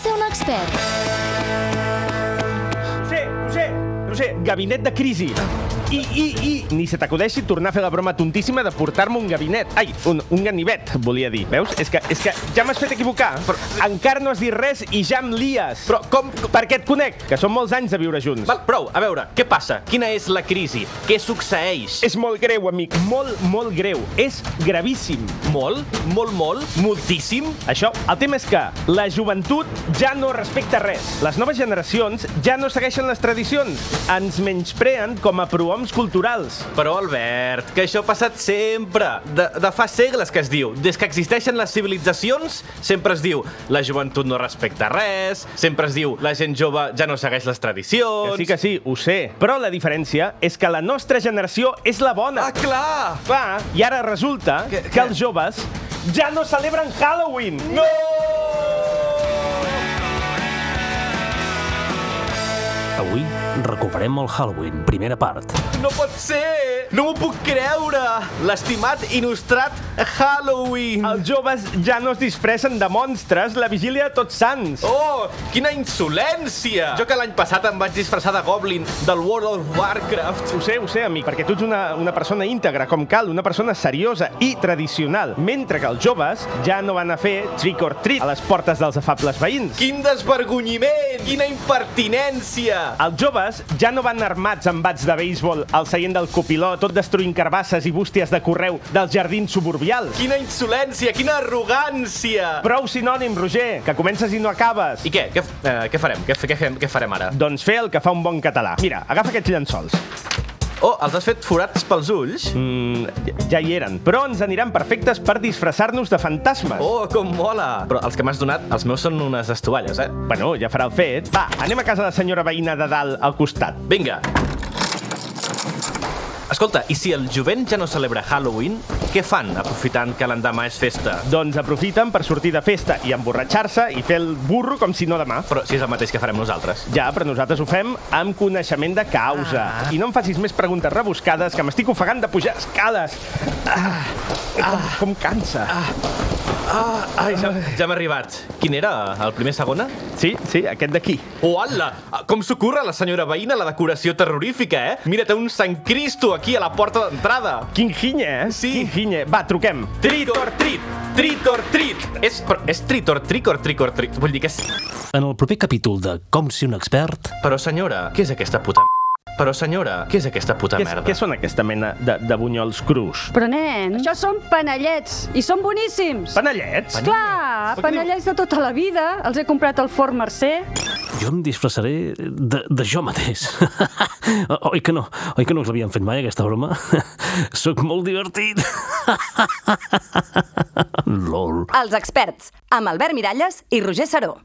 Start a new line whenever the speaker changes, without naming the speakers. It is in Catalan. ser un expert.
Ho sé, ho sé, ho sé. Gabinet de crisi. I, i, i, ni se t'acudeixi tornar a fer la broma tontíssima de portar-me un gabinet. Ai, un, un ganivet, volia dir. Veus? És que, és que ja m'has fet equivocar. Però encara no has dit res i ja em lies.
Però com-
Perquè et conec, que són molts anys de viure junts.
Val, prou, a veure, què passa? Quina és la crisi? Què succeeix?
És molt greu, amic. Molt, molt greu. És gravíssim.
molt, molt, molt, moltíssim?
Això, el tema és que la joventut ja no respecta res. Les noves generacions ja no segueixen les tradicions. Ens menyspreen com a prohoms culturals.
Però, Albert, que això ha passat sempre. De, de fa segles que es diu. Des que existeixen les civilitzacions, sempre es diu la joventut no respecta res, sempre es diu la gent jove ja no segueix les tradicions...
Que sí, que sí, ho sé. Però la diferència és que la nostra generació és la bona.
Ah, clar!
Clar, i ara resulta que,
Que-
que...
que-
els joves ja no celebren Halloween. No!
Avui recuperem el Halloween, primera part.
No pot ser! No m'ho puc creure! L'estimat i nostrat Halloween!
Els joves ja no es disfressen de monstres la vigília de Tots Sants.
Oh, quina insolència! Jo que l'any passat em vaig disfressar de Goblin del World of Warcraft.
Ho sé, ho sé, amic, perquè tu ets una, una persona íntegra, com cal, una persona seriosa i tradicional, mentre que els joves ja no van a fer trick or treat a les portes dels afables veïns.
Quin desvergonyiment! Quina impertinència!
Els joves ja no van armats amb bats de béisbol al seient del copilot, tot destruint carbasses i bústies de correu dels jardins suburbials.
Quina insolència! Quina arrogància!
Prou sinònim, Roger, que comences i no acabes.
I què? Què, f- eh, què farem? Què, f- què, fem? què farem ara?
Doncs fer el que fa un bon català. Mira, agafa aquests llençols.
Oh, els has fet forats pels ulls?
Mm, ja- ja hi eren, però ens aniran perfectes per disfressar-nos de fantasmes.
Oh, com mola! Però els que m'has donat, els meus són unes estovalles, eh?
Bueno, ja farà el fet. Va, anem a casa de la senyora veïna de dalt al costat.
Vinga! Escolta, i si el jovent ja no celebra Halloween, què fan, aprofitant que l'endemà és festa?
Doncs aprofiten per sortir de festa i emborratxar-se i fer el burro com si no demà.
Però si és el mateix que farem nosaltres.
Ja, però nosaltres ho fem amb coneixement de causa. Ah. I no em facis més preguntes rebuscades, que m'estic ofegant de pujar escales. Ah. Ah. Com, com cansa. Ah.
Ah, ai, ja, ja m'ha arribat. Quin era? El primer segona?
Sí, sí, aquest d'aquí.
Oh, ala! Ah, Com s'ocorre a la senyora veïna la decoració terrorífica, eh? Mira, té un Sant Cristo aquí a la porta d'entrada.
Quin ginya, eh?
Sí.
Quin ginya. Va, truquem.
Trit or trit! Trit or trit! És, però és trit or tric or tric or trit. Vull dir que és...
En el proper capítol de Com si un expert...
Però senyora, què és aquesta puta m***? Però senyora, què és aquesta puta
Què,
merda?
què són aquesta mena de, de bunyols crus?
Però, nen, això són panellets i són boníssims.
Panellets? Però
Clar,
què
panellets de tota la vida. Els he comprat al Fort Mercè.
Jo em disfressaré de, de jo mateix. O- oi que no? Oi que no us l'havien fet mai, aquesta broma? Soc molt divertit. Lol.
Els experts, amb Albert Miralles i Roger Saró.